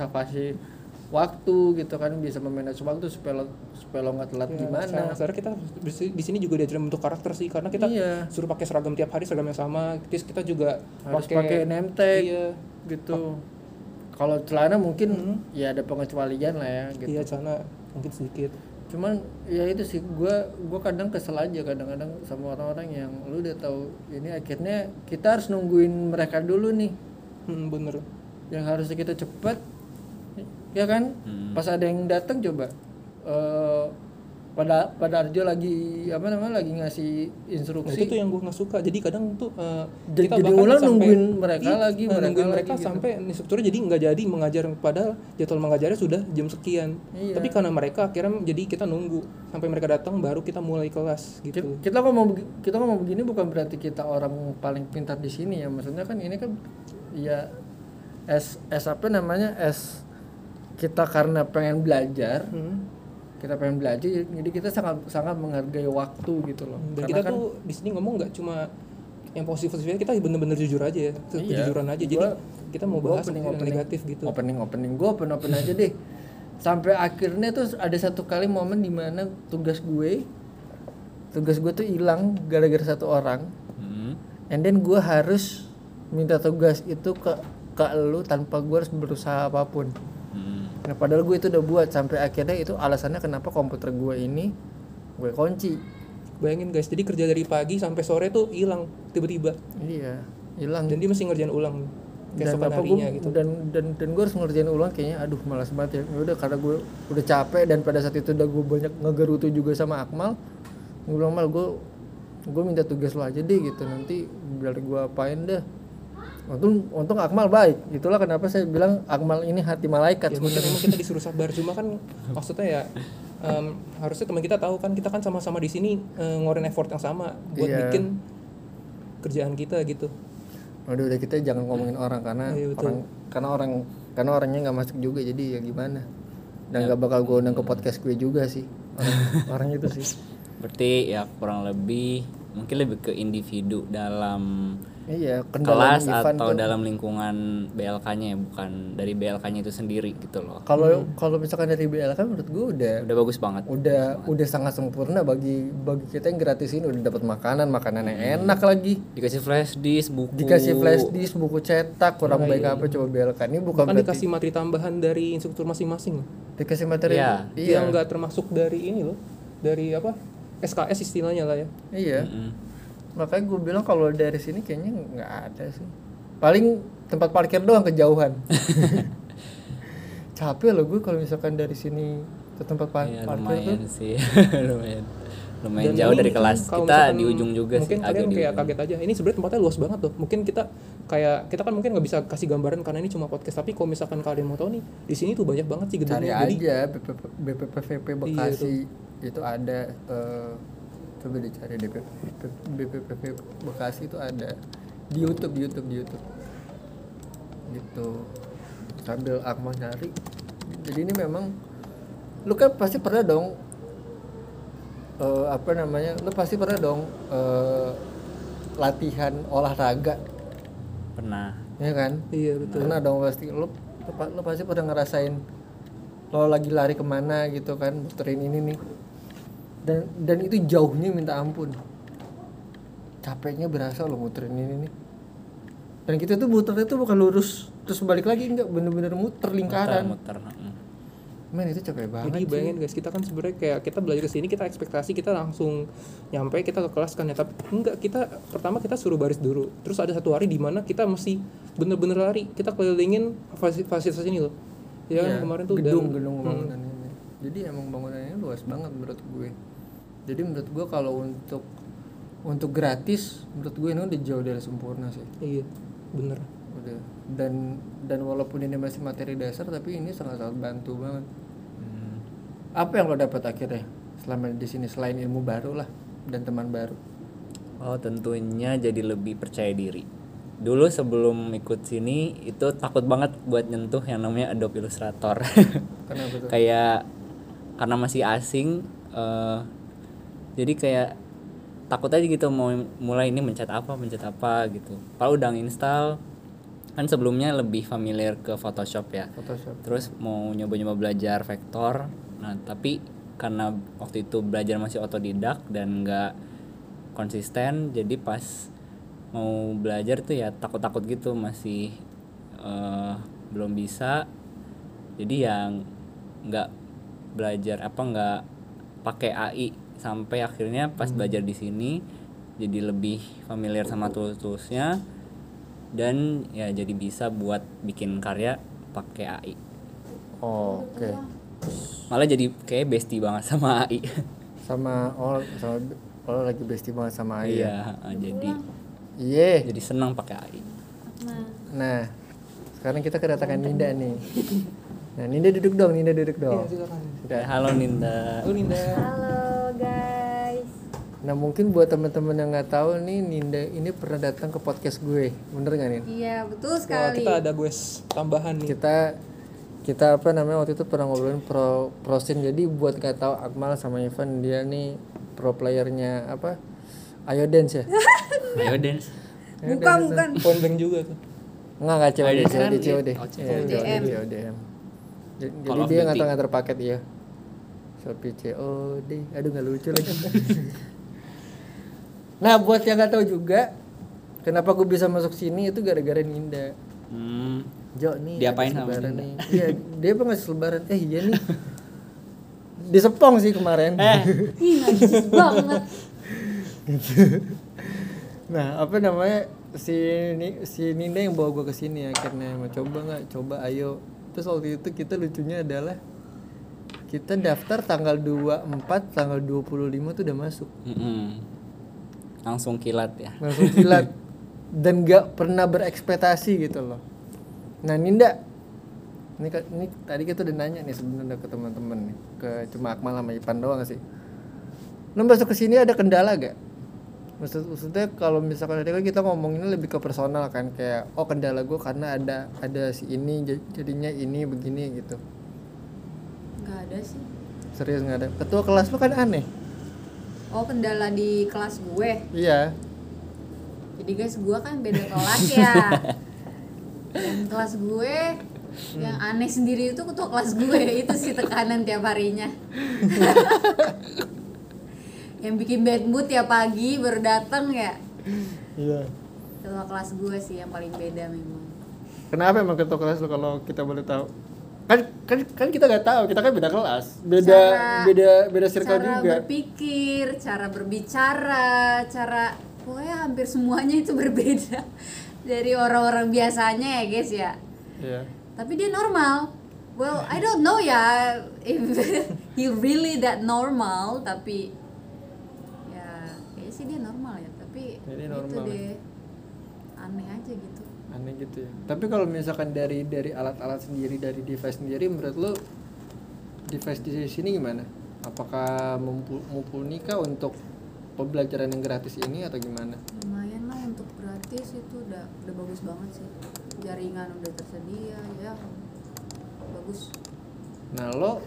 [SPEAKER 4] waktu gitu kan bisa memanage waktu supaya lo supaya lo nggak telat
[SPEAKER 3] Ya,
[SPEAKER 4] gimana
[SPEAKER 3] secara nggak sadar kita di si- di sini juga diajarin bentuk karakter sih karena kita
[SPEAKER 4] Iya.
[SPEAKER 3] suruh pakai seragam tiap hari seragam yang sama terus kita juga
[SPEAKER 4] harus pakai name tag
[SPEAKER 3] iya Hmm.
[SPEAKER 4] gitu kalau celana mungkin ya ada pengecualian lah ya gitu
[SPEAKER 3] iya celana mungkin sedikit
[SPEAKER 4] cuman ya itu sih gua gua kadang kesel aja kadang-kadang sama orang-orang yang lu udah tahu ini akhirnya kita harus nungguin mereka dulu nih
[SPEAKER 3] hmm, bener
[SPEAKER 4] yang harusnya kita cepat ya kan pas ada yang datang coba eh, pada pada Arjo lagi apa namanya lagi ngasih
[SPEAKER 3] nah, itu
[SPEAKER 4] instruksi
[SPEAKER 3] tuh yang gue nggak suka jadi kadang tuh eh,
[SPEAKER 4] Jadi- jadi
[SPEAKER 3] bahkan
[SPEAKER 4] ulang nungguin mereka
[SPEAKER 3] Iya,
[SPEAKER 4] lagi, mereka
[SPEAKER 3] nungguin
[SPEAKER 4] lagi
[SPEAKER 3] mereka
[SPEAKER 4] gitu.
[SPEAKER 3] sampai instrukturnya jadi nggak jadi mengajar padahal jadwal mengajarnya sudah jam sekian
[SPEAKER 4] Iya.
[SPEAKER 3] tapi karena mereka akhirnya jadi kita nunggu sampai mereka datang baru kita mulai kelas
[SPEAKER 4] Ki-
[SPEAKER 3] gitu
[SPEAKER 4] kita ngomong begi- kita ngomong begini bukan berarti kita orang paling pintar di sini ya maksudnya kan ini kan ya es es apa namanya es kita karena pengen belajar
[SPEAKER 3] Hmm.
[SPEAKER 4] kita pengen belajar jadi kita sangat sangat menghargai waktu gitu loh
[SPEAKER 3] dan
[SPEAKER 4] Karena
[SPEAKER 3] kita
[SPEAKER 4] kan-
[SPEAKER 3] tuh di sini ngomong nggak cuma yang positif positifnya kita bener-bener jujur aja ya kejujuran aja jadi
[SPEAKER 4] Iya. Gua-
[SPEAKER 3] kita mau
[SPEAKER 4] gua
[SPEAKER 3] bahas yang negatif gitu
[SPEAKER 4] opening opening gue open open aja deh sampai akhirnya tuh ada satu kali momen dimana tugas gue tugas gue tuh hilang gara-gara satu orang
[SPEAKER 2] Hmm.
[SPEAKER 4] and then gue harus minta tugas itu ke ke lu tanpa gue harus berusaha apapun
[SPEAKER 2] Hmm.
[SPEAKER 4] nah padahal gue itu udah buat sampai akhirnya itu alasannya kenapa komputer gue ini gue kunci
[SPEAKER 3] bayangin guys jadi kerja dari pagi sampai sore tuh hilang tiba-tiba
[SPEAKER 4] iya hilang
[SPEAKER 3] dan dia mesti ngerjain ulang
[SPEAKER 4] dan
[SPEAKER 3] keesokan
[SPEAKER 4] apa
[SPEAKER 3] harinya
[SPEAKER 4] gua-
[SPEAKER 3] gitu
[SPEAKER 4] dan dan dan gue harus ngerjain ulang kayaknya aduh malas banget ya Ya udah karena gue udah capek dan pada saat itu udah gue banyak ngegerutu juga sama Akmal gue bilang mal gue gue minta tugas lo aja deh gitu nanti biar gue apain deh untung untung Akmal baik itulah kenapa saya bilang Akmal ini hati malaikat
[SPEAKER 3] ya mungkin emang kita disuruh sabar cuma kan maksudnya ya em, harusnya teman kita tahu kan kita kan sama-sama di sini eh, ngeluarin effort yang sama buat
[SPEAKER 4] Iya.
[SPEAKER 3] bikin kerjaan kita gitu
[SPEAKER 4] udah udah kita jangan ngomongin orang karena
[SPEAKER 3] Iya, betul.
[SPEAKER 4] orang karena orang karena orangnya nggak masuk juga jadi ya gimana
[SPEAKER 3] Ya.
[SPEAKER 4] dan nggak bakal gue undang ke podcast gue juga sih orang, orang itu sih
[SPEAKER 2] berarti ya kurang lebih mungkin lebih ke individu dalam
[SPEAKER 4] iya kendala
[SPEAKER 2] kelas
[SPEAKER 4] Ivan
[SPEAKER 2] atau
[SPEAKER 4] tuh.
[SPEAKER 2] dalam lingkungan BLK-nya ya bukan dari BLK-nya itu sendiri gitu loh
[SPEAKER 4] kalau kalau misalkan dari BL kan menurut gue udah
[SPEAKER 2] udah bagus banget
[SPEAKER 4] udah udah sangat sempurna bagi bagi kita yang gratis ini udah dapat makanan makanannya enak lagi
[SPEAKER 2] dikasih flash disk buku
[SPEAKER 4] dikasih flash disk buku cetak kurang baik apa coba BL kan ini bukan
[SPEAKER 3] kan
[SPEAKER 4] berarti
[SPEAKER 3] dikasih materi tambahan dari instruktur masing-masing
[SPEAKER 4] dikasih materi
[SPEAKER 2] Iya.
[SPEAKER 4] iya
[SPEAKER 3] yang nggak termasuk dari ini loh dari apa SKS istilahnya lah ya
[SPEAKER 4] iya
[SPEAKER 2] Mm.
[SPEAKER 4] makanya gue bilang kalau dari sini kayaknya nggak ada sih paling tempat parkir doang kejauhan capek loh gue kalau misalkan dari sini ke tempat par-
[SPEAKER 2] Ya,
[SPEAKER 4] parkir
[SPEAKER 2] lumayan
[SPEAKER 4] tuh
[SPEAKER 2] sih lumayan lumayan
[SPEAKER 3] Dan
[SPEAKER 2] jauh
[SPEAKER 3] ini
[SPEAKER 2] dari
[SPEAKER 3] mungkin
[SPEAKER 2] kelas
[SPEAKER 3] kalau
[SPEAKER 2] kita
[SPEAKER 3] misalkan
[SPEAKER 2] di ujung juga
[SPEAKER 3] mungkin
[SPEAKER 2] sih
[SPEAKER 3] kalian
[SPEAKER 2] agak di
[SPEAKER 3] kayak
[SPEAKER 2] ujung.
[SPEAKER 3] kaget aja ini sebenarnya tempatnya luas banget tuh mungkin kita kayak kita kan mungkin nggak bisa kasih gambaran karena ini cuma podcast tapi kalau misalkan kalian mau tahu nih di sini tuh banyak banget sih
[SPEAKER 4] cari
[SPEAKER 3] gedungnya jadi
[SPEAKER 4] aja BPP BPPVP Bekasi
[SPEAKER 3] tuh.
[SPEAKER 4] itu ada eh, coba dicari DP, BPPP Bekasi itu ada di YouTube di YouTube di YouTube gitu sambil Akmal nyari jadi ini memang lu kan pasti pernah dong eh, apa namanya lu pasti pernah dong eh, latihan olahraga
[SPEAKER 2] pernah
[SPEAKER 4] ya kan
[SPEAKER 3] Iya betul.
[SPEAKER 4] pernah dong pasti lu, lu pa- lu pasti pernah ngerasain lo lagi lari kemana gitu kan muterin ini nih dan dan itu jauhnya minta ampun capeknya berasa lo muterin ini nih dan kita tuh muternya tuh bukan lurus terus balik lagi enggak bener-bener muter lingkaran
[SPEAKER 2] muter, mm. muter.
[SPEAKER 4] men itu capek banget
[SPEAKER 3] Jadi
[SPEAKER 4] sih.
[SPEAKER 3] bayangin guys, kita kan sebenarnya kayak kita belajar ke sini kita ekspektasi kita langsung nyampe kita ke kelas kan ya, tapi enggak kita pertama kita suruh baris dulu. Terus ada satu hari di mana kita mesti bener-bener lari, kita kelilingin fasi- fasilitas ini loh. Ya kan
[SPEAKER 4] Iya,
[SPEAKER 3] kemarin tuh dan-
[SPEAKER 4] gedung-gedung
[SPEAKER 3] Hmm,
[SPEAKER 4] bangunannya. Jadi emang bangunannya luas banget menurut gue. Jadi menurut gue kalau untuk untuk gratis menurut gue ini udah jauh dari sempurna sih.
[SPEAKER 3] Iya, bener.
[SPEAKER 4] Udah dan dan walaupun ini masih materi dasar tapi ini sangat-sangat bantu banget. Hmm. Apa yang lo dapat akhirnya selama di sini selain ilmu baru lah dan teman baru?
[SPEAKER 2] Oh tentunya jadi lebih percaya diri. Dulu sebelum ikut sini itu takut banget buat nyentuh yang namanya Adobe Illustrator.
[SPEAKER 4] Kenapa tuh?
[SPEAKER 2] kayak karena masih asing, eh, jadi kayak takut aja gitu mau mulai ini mencet apa mencet apa gitu. Kalau udah install kan sebelumnya lebih familiar ke Photoshop ya
[SPEAKER 4] Photoshop.
[SPEAKER 2] terus mau nyoba-nyoba belajar vektor nah tapi karena waktu itu belajar masih otodidak dan nggak konsisten jadi pas mau belajar tuh ya takut-takut gitu masih eh, belum bisa jadi yang nggak belajar apa nggak pakai AI sampai akhirnya pas belajar di sini jadi lebih familiar sama tools-toolsnya dan ya jadi bisa buat bikin karya pakai AI
[SPEAKER 4] Oh, Oke.
[SPEAKER 2] malah jadi kayak bestie banget sama AI
[SPEAKER 4] Sama all sama all lagi bestie banget sama Ayah.
[SPEAKER 2] iya jadi
[SPEAKER 4] Iya.
[SPEAKER 2] jadi senang pakai AI
[SPEAKER 5] Nah,
[SPEAKER 4] Nah, sekarang kita kedatangan Ninda nih. Nah, Ninda duduk dong, Ninda duduk dong.
[SPEAKER 3] Iya, silakan.
[SPEAKER 2] Eh, halo Ninda
[SPEAKER 3] Oh, Ninda.
[SPEAKER 5] halo guys.
[SPEAKER 4] Nah, mungkin buat teman-teman yang nggak tahu nih, Ninda ini pernah datang ke podcast gue, bener nggak nih?
[SPEAKER 5] Iya, betul
[SPEAKER 3] Wah,
[SPEAKER 5] sekali.
[SPEAKER 3] kita ada guys tambahan nih.
[SPEAKER 4] Kita kita apa namanya waktu itu pernah ngobrolin pro prosin jadi buat nggak tahu Akmal sama Ivan dia nih pro playernya apa Ayo Dance ya
[SPEAKER 2] ayo dance
[SPEAKER 3] Ya
[SPEAKER 5] Bukan, bukan.
[SPEAKER 3] Poin bank juga tuh.
[SPEAKER 4] nggak nggak COD
[SPEAKER 2] Ayo Dance
[SPEAKER 4] COD
[SPEAKER 2] kan? Oh,
[SPEAKER 4] COD Iya,
[SPEAKER 5] COD.
[SPEAKER 4] COD Jadi-
[SPEAKER 2] Call of
[SPEAKER 4] jadi dia
[SPEAKER 2] Duty.
[SPEAKER 4] ngantar-ngantar paket ya Shopee COD aduh nggak lucu lagi Nah buat yang nggak tahu juga kenapa gue bisa masuk sini itu gara-gara Ninda.
[SPEAKER 2] hmm,
[SPEAKER 4] Jo nih.
[SPEAKER 2] Diapain sama
[SPEAKER 4] habis lebaran
[SPEAKER 2] Ninda?
[SPEAKER 4] nih. Iya dia apa ngasih lebaran? Eh iya nih. Di Sepong sih kemarin.
[SPEAKER 2] Eh.
[SPEAKER 5] Ih, najis banget.
[SPEAKER 4] Nah apa namanya si Ni- si Ninda yang bawa gue ke sini akhirnya mau coba nggak? Coba ayo. Terus waktu itu kita lucunya adalah kita daftar tanggal 24 tanggal 25 tuh udah masuk
[SPEAKER 2] mm-mm. hmm. langsung kilat ya
[SPEAKER 4] langsung kilat dan gak pernah berekspektasi gitu loh nah Ninda ini, ke- ini tadi kita udah nanya nih sebenarnya ke teman-teman nih ke cuma Akmal sama Ipan doang sih lo masuk ke sini ada kendala gak Maksud, maksudnya kalau misalkan tadi kan kita ngomonginnya lebih ke personal kan kayak oh kendala gue karena ada ada si ini jad- jadinya ini begini gitu
[SPEAKER 5] Enggak ada sih.
[SPEAKER 4] serius nggak ada ketua kelas lu kan aneh
[SPEAKER 5] Oh, kendala di kelas gue.
[SPEAKER 4] iya
[SPEAKER 5] Jadi guys, gue kan beda kelas ya. Dan kelas gue yang aneh sendiri itu ketua kelas gue itu sih tekanan tiap harinya. yang bikin bad mood tiap pagi baru datang ya.
[SPEAKER 4] iya
[SPEAKER 5] Ketua kelas gue sih yang paling beda memang.
[SPEAKER 4] Kenapa emang ketua kelas lu kalau kita boleh tahu? Kan kan kan kita nggak tahu, kita kan beda kelas, beda
[SPEAKER 5] Cara-
[SPEAKER 4] beda beda circle
[SPEAKER 5] cara
[SPEAKER 4] juga.
[SPEAKER 5] berpikir, cara berbicara, cara pokoknya hampir semuanya itu berbeda dari orang-orang biasanya ya guys ya.
[SPEAKER 4] Iya.
[SPEAKER 5] Tapi dia normal. Well, I don't know ya if he really that normal, tapi ya kayaknya sih dia normal ya, tapi
[SPEAKER 4] Jadi
[SPEAKER 5] itu
[SPEAKER 4] normal.
[SPEAKER 5] deh aneh aja gitu.
[SPEAKER 4] Aneh gitu ya. Tapi kalau misalkan dari dari alat-alat sendiri, dari device sendiri menurut lu device di sini gimana? apakah mempu- mempunyai untuk pembelajaran yang gratis ini atau gimana
[SPEAKER 5] lumayan lah untuk gratis itu udah udah bagus banget sih jaringan udah tersedia ya bagus
[SPEAKER 4] nah lo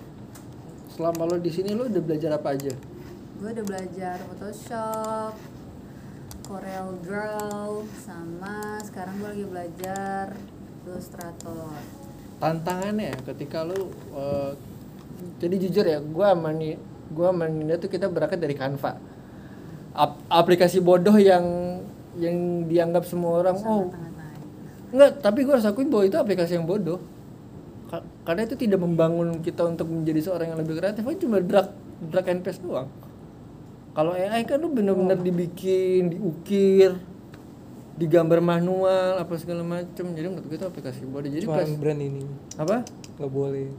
[SPEAKER 4] selama lo di sini lo udah belajar apa aja
[SPEAKER 5] gue udah belajar Photoshop Corel Draw sama sekarang gue lagi belajar Illustrator
[SPEAKER 4] tantangannya ketika lo eh, jadi jujur ya gue mani gue Ninda tuh kita berangkat dari Canva Ap- aplikasi bodoh yang yang dianggap semua orang oh
[SPEAKER 5] sangat tangan
[SPEAKER 4] Enggak, tapi gue harus akuin bahwa itu aplikasi yang bodoh. Ka- Karena itu tidak membangun kita untuk menjadi seorang yang lebih kreatif, kan cuma drag drag and paste doang. Kalau AI kan lu bener-bener dibikin, diukir, digambar manual, apa segala macem. Jadi menurut gue itu aplikasi bodoh. Jadi
[SPEAKER 3] Cuma
[SPEAKER 4] pas
[SPEAKER 3] brand ini
[SPEAKER 4] apa?
[SPEAKER 3] nggak boleh.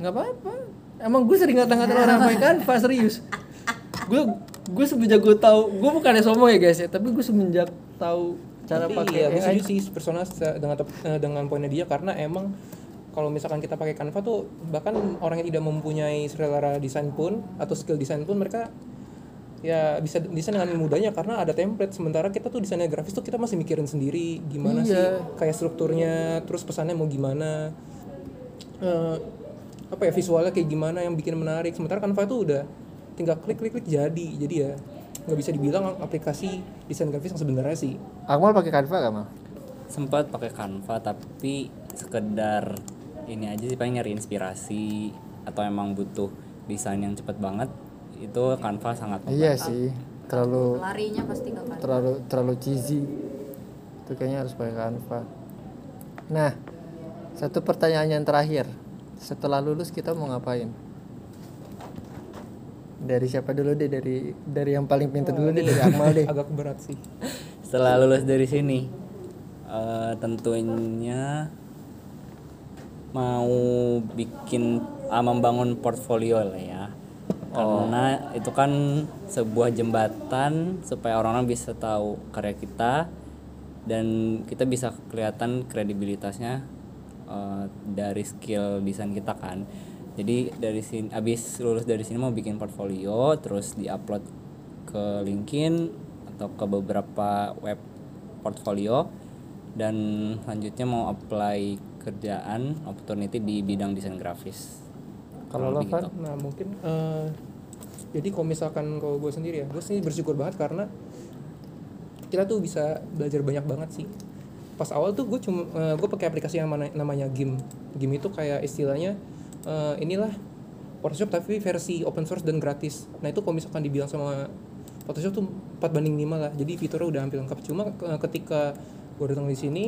[SPEAKER 4] Nggak apa-apa. Emang gue sering ngata-ngatain orang pakai Canva serius. Gue gue semenjak gue tahu, gue bukannya sombong ya guys ya, tapi gue semenjak tahu cara
[SPEAKER 3] Tapi
[SPEAKER 4] pakai
[SPEAKER 3] iya, gue
[SPEAKER 4] AI
[SPEAKER 3] setuju sih personal se- dengan tep- eh, dengan poinnya dia karena emang kalau misalkan kita pakai Canva tuh bahkan orang yang tidak mempunyai selera desain pun atau skill desain pun mereka ya bisa desain dengan mudahnya karena ada template sementara kita tuh desainnya grafis tuh kita masih mikirin sendiri gimana sih
[SPEAKER 4] Iya.
[SPEAKER 3] kayak strukturnya terus pesannya mau gimana eh, apa ya visualnya kayak gimana yang bikin menarik sementara Canva itu udah tinggal klik klik klik jadi jadi ya nggak bisa dibilang aplikasi desain grafis yang sebenarnya sih
[SPEAKER 4] Akmal pakai Canva gak mal?
[SPEAKER 2] sempat pakai Canva tapi sekedar ini aja sih paling nyari inspirasi atau emang butuh desain yang cepet banget itu Canva sangat
[SPEAKER 4] Iya sih, terlalu
[SPEAKER 5] larinya pasti ke Canva
[SPEAKER 4] terlalu terlalu cheesy. Itu kayaknya harus pakai Canva. Nah, satu pertanyaan yang terakhir. Setelah lulus kita mau ngapain? Dari siapa dulu deh? Dari dari yang paling pintar dulu deh, dari Akmal deh.
[SPEAKER 3] Oh, iya. agak berat sih
[SPEAKER 2] setelah lulus dari sini eh, tentunya mau bikin ah, membangun portfolio lah ya karena itu kan sebuah jembatan supaya orang-orang bisa tahu karya kita dan kita bisa kelihatan kredibilitasnya eh, dari skill desain kita kan jadi dari sini abis lulus dari sini mau bikin portfolio terus diupload ke LinkedIn atau ke beberapa web portfolio dan selanjutnya mau apply kerjaan opportunity di bidang desain grafis.
[SPEAKER 4] Kalau
[SPEAKER 2] Kurang
[SPEAKER 4] lo
[SPEAKER 2] lebih
[SPEAKER 4] Van,
[SPEAKER 2] gitu.
[SPEAKER 3] nah mungkin eh, jadi kalau misalkan kalau gue sendiri ya gue sendiri bersyukur banget karena kita tuh bisa belajar banyak banget sih pas awal tuh gue cuma eh, gue pakai aplikasi yang mana- namanya game game itu kayak istilahnya eh, inilah Photoshop tapi versi open source dan gratis nah itu kalau misalkan dibilang sama Photoshop tuh 4 banding 5 lah jadi fiturnya udah hampir lengkap cuma eh, ketika gue datang di sini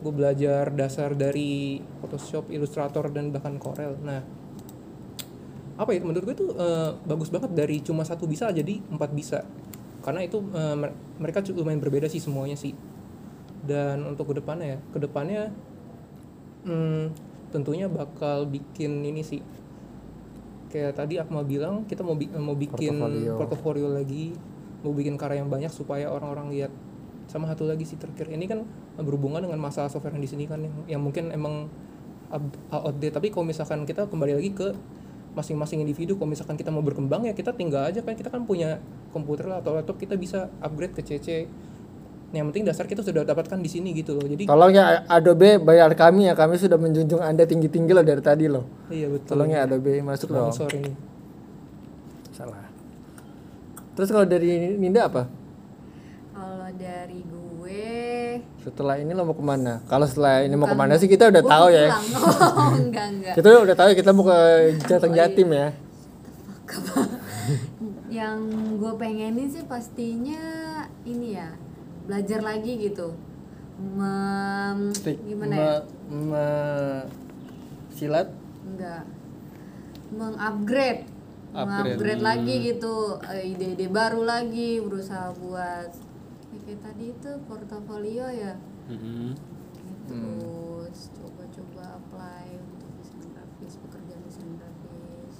[SPEAKER 3] gue belajar dasar dari Photoshop, Illustrator dan bahkan Corel nah apa ya menurut gue tuh eh, bagus banget dari cuma satu bisa jadi empat bisa karena itu eh, mer- mereka cukup lumayan berbeda sih semuanya sih dan untuk kedepannya ya kedepannya hmm, tentunya bakal bikin ini sih kayak tadi Akmal bilang kita mau bi- mau bikin
[SPEAKER 4] Portofolio.
[SPEAKER 3] portofolio. lagi mau bikin karya yang banyak supaya orang-orang lihat sama satu lagi sih terakhir ini kan berhubungan dengan masalah software yang di sini kan yang, yang mungkin emang ab- outdated tapi kalau misalkan kita kembali lagi ke masing-masing individu kalau misalkan kita mau berkembang ya kita tinggal aja kan kita kan punya komputer lah atau laptop kita bisa upgrade ke CC yang penting dasar kita sudah dapatkan di sini gitu loh jadi
[SPEAKER 4] Tolong ya Adobe bayar kami ya, kami sudah menjunjung Anda tinggi-tinggi loh dari tadi loh.
[SPEAKER 3] iya betul
[SPEAKER 4] Tolong ya Adobe masuk dong.
[SPEAKER 3] sponsor ini
[SPEAKER 4] Salah. Terus kalau dari Ninda apa?
[SPEAKER 5] kalau dari gue
[SPEAKER 4] Setelah ini lo mau kemana? Kalau setelah ini mau
[SPEAKER 5] Bukan.
[SPEAKER 4] kemana sih kita udah
[SPEAKER 5] Gua
[SPEAKER 4] tahu
[SPEAKER 5] mau
[SPEAKER 4] ya.
[SPEAKER 5] pulang. oh, enggak enggak
[SPEAKER 4] Kita udah tahu ya, kita mau ke
[SPEAKER 2] Oh,
[SPEAKER 4] Jateng
[SPEAKER 2] iya.
[SPEAKER 4] Jatim ya.
[SPEAKER 5] yang gue pengenin sih pastinya ini ya belajar lagi gitu Mem, gimana ya
[SPEAKER 4] Me- me- Eh, silat
[SPEAKER 5] enggak mengupgrade
[SPEAKER 4] Upgrade.
[SPEAKER 5] mengupgrade lagi gitu eh, ide-ide baru lagi berusaha buat ya kayak tadi itu portofolio ya
[SPEAKER 2] Mm-mm.
[SPEAKER 5] terus coba-coba apply untuk desain grafis pekerjaan desain grafis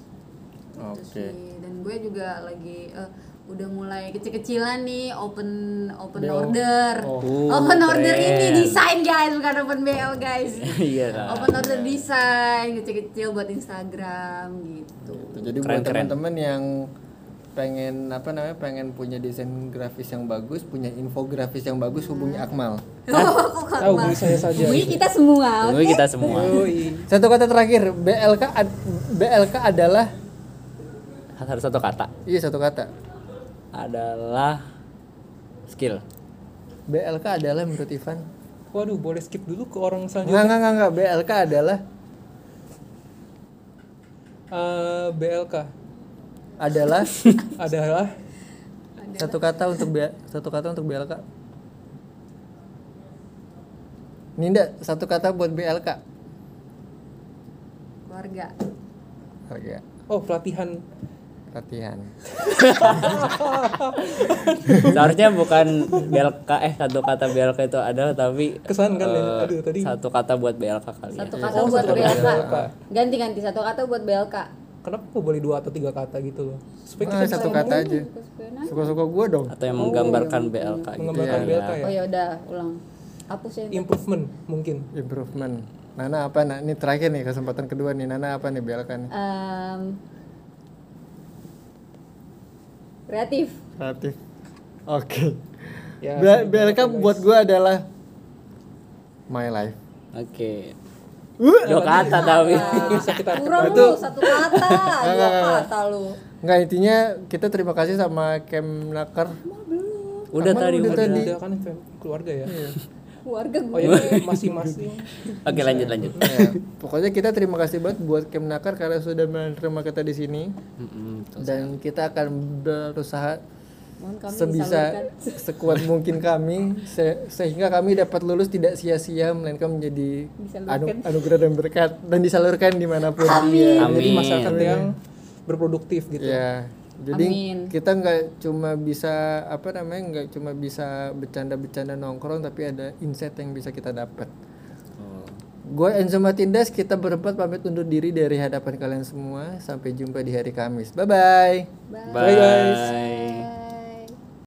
[SPEAKER 5] Gitu
[SPEAKER 4] Oke.
[SPEAKER 5] sih. dan gue juga lagi eh, udah mulai kecil-kecilan nih open open
[SPEAKER 3] BO.
[SPEAKER 5] order.
[SPEAKER 2] Oh,
[SPEAKER 5] open order
[SPEAKER 2] keren.
[SPEAKER 5] ini desain guys, bukan open BL guys.
[SPEAKER 2] Iya lah.
[SPEAKER 5] open order desain kecil-kecil buat Instagram gitu.
[SPEAKER 4] Gitu. Jadi
[SPEAKER 2] Keren, keren.
[SPEAKER 4] buat teman-teman yang pengen apa namanya pengen punya desain grafis yang bagus, punya infografis yang bagus hubungi
[SPEAKER 3] Iya.
[SPEAKER 4] Akmal.
[SPEAKER 5] Oh, kok
[SPEAKER 3] Ah, hubungi saya saja.
[SPEAKER 5] Hubungi kita semua.
[SPEAKER 2] Tunggu kita semua.
[SPEAKER 3] Yoi.
[SPEAKER 4] Satu kata terakhir, BLK ad- BLK adalah
[SPEAKER 2] Harus satu kata.
[SPEAKER 4] iya satu kata.
[SPEAKER 2] Adalah skill.
[SPEAKER 4] BLK adalah menurut Ivan.
[SPEAKER 3] Waduh, boleh skip dulu ke orang
[SPEAKER 4] Enggak
[SPEAKER 3] selanjutnya.
[SPEAKER 4] enggak enggak, enggak. BLK adalah
[SPEAKER 3] Eh, BLK
[SPEAKER 4] adalah
[SPEAKER 3] adalah
[SPEAKER 4] satu kata untuk B- satu kata untuk BLK. Ninda, satu kata buat BLK.
[SPEAKER 5] Keluarga.
[SPEAKER 4] Harga
[SPEAKER 3] oh pelatihan
[SPEAKER 4] latihan.
[SPEAKER 2] Seharusnya bukan BLK eh satu kata BLK itu adalah tapi
[SPEAKER 3] kesan kan ya?
[SPEAKER 2] eh,
[SPEAKER 3] Aduh tadi.
[SPEAKER 2] satu kata buat BLK kali ya.
[SPEAKER 5] Satu kata buat BLK. Ganti-ganti satu kata buat BLK.
[SPEAKER 3] Kenapa nggak boleh dua atau tiga kata gitu loh? Supaya
[SPEAKER 4] Ah, satu kata aja.
[SPEAKER 5] Terus
[SPEAKER 4] Suka-suka gua dong.
[SPEAKER 2] Atau yang
[SPEAKER 4] Oh.
[SPEAKER 2] menggambarkan BLK gitu ya.
[SPEAKER 3] mengembangkan BLK ya.
[SPEAKER 5] Oh ya udah ulang. Hapus ya.
[SPEAKER 3] Improvement mungkin.
[SPEAKER 4] Improvement. Nana apa? Nah, ini terakhir nih kesempatan kedua nih. Nana apa nih BLK nih?
[SPEAKER 5] Em, kreatif.
[SPEAKER 4] Kreatif. Oke.
[SPEAKER 3] Ya,
[SPEAKER 4] B- BLK buat gua adalah my life.
[SPEAKER 2] Oke.
[SPEAKER 4] Uh.
[SPEAKER 2] Dua kata tapi.
[SPEAKER 3] Bisa kita
[SPEAKER 5] Kurang lu satu kata, dua kata lu.
[SPEAKER 4] Enggak intinya kita terima kasih sama Kemnaker.
[SPEAKER 2] Udah
[SPEAKER 4] Sama
[SPEAKER 2] tadi
[SPEAKER 4] udah
[SPEAKER 2] udah.
[SPEAKER 4] tadi.
[SPEAKER 3] Udah kan fam- keluarga ya.
[SPEAKER 5] Keluarga
[SPEAKER 3] Oh
[SPEAKER 5] gue.
[SPEAKER 3] ya masing-masing.
[SPEAKER 2] Oke lanjut lanjut.
[SPEAKER 4] Ya, pokoknya kita terima kasih banget buat Kemnaker karena sudah menerima kita di sini
[SPEAKER 2] Mm-mm, betul.
[SPEAKER 4] dan kita akan berusaha
[SPEAKER 5] Mohon kami
[SPEAKER 4] sebisa
[SPEAKER 5] disalurkan.
[SPEAKER 4] sekuat mungkin kami se- sehingga kami dapat lulus tidak sia-sia melainkan menjadi anu- anugerah dan berkat dan disalurkan dimanapun. Iya.
[SPEAKER 3] Jadi
[SPEAKER 2] Amin. Iya,
[SPEAKER 3] masyarakat yang berproduktif gitu.
[SPEAKER 4] Ya, jadi
[SPEAKER 5] Amin.
[SPEAKER 4] kita nggak cuma bisa apa namanya nggak cuma bisa bercanda-bercanda nongkrong tapi ada insight yang bisa kita dapat.
[SPEAKER 2] Oh.
[SPEAKER 4] Gue Enzo Matindas kita berempat pamit undur diri dari hadapan kalian semua sampai jumpa di hari Kamis. Bye bye.
[SPEAKER 2] Bye guys.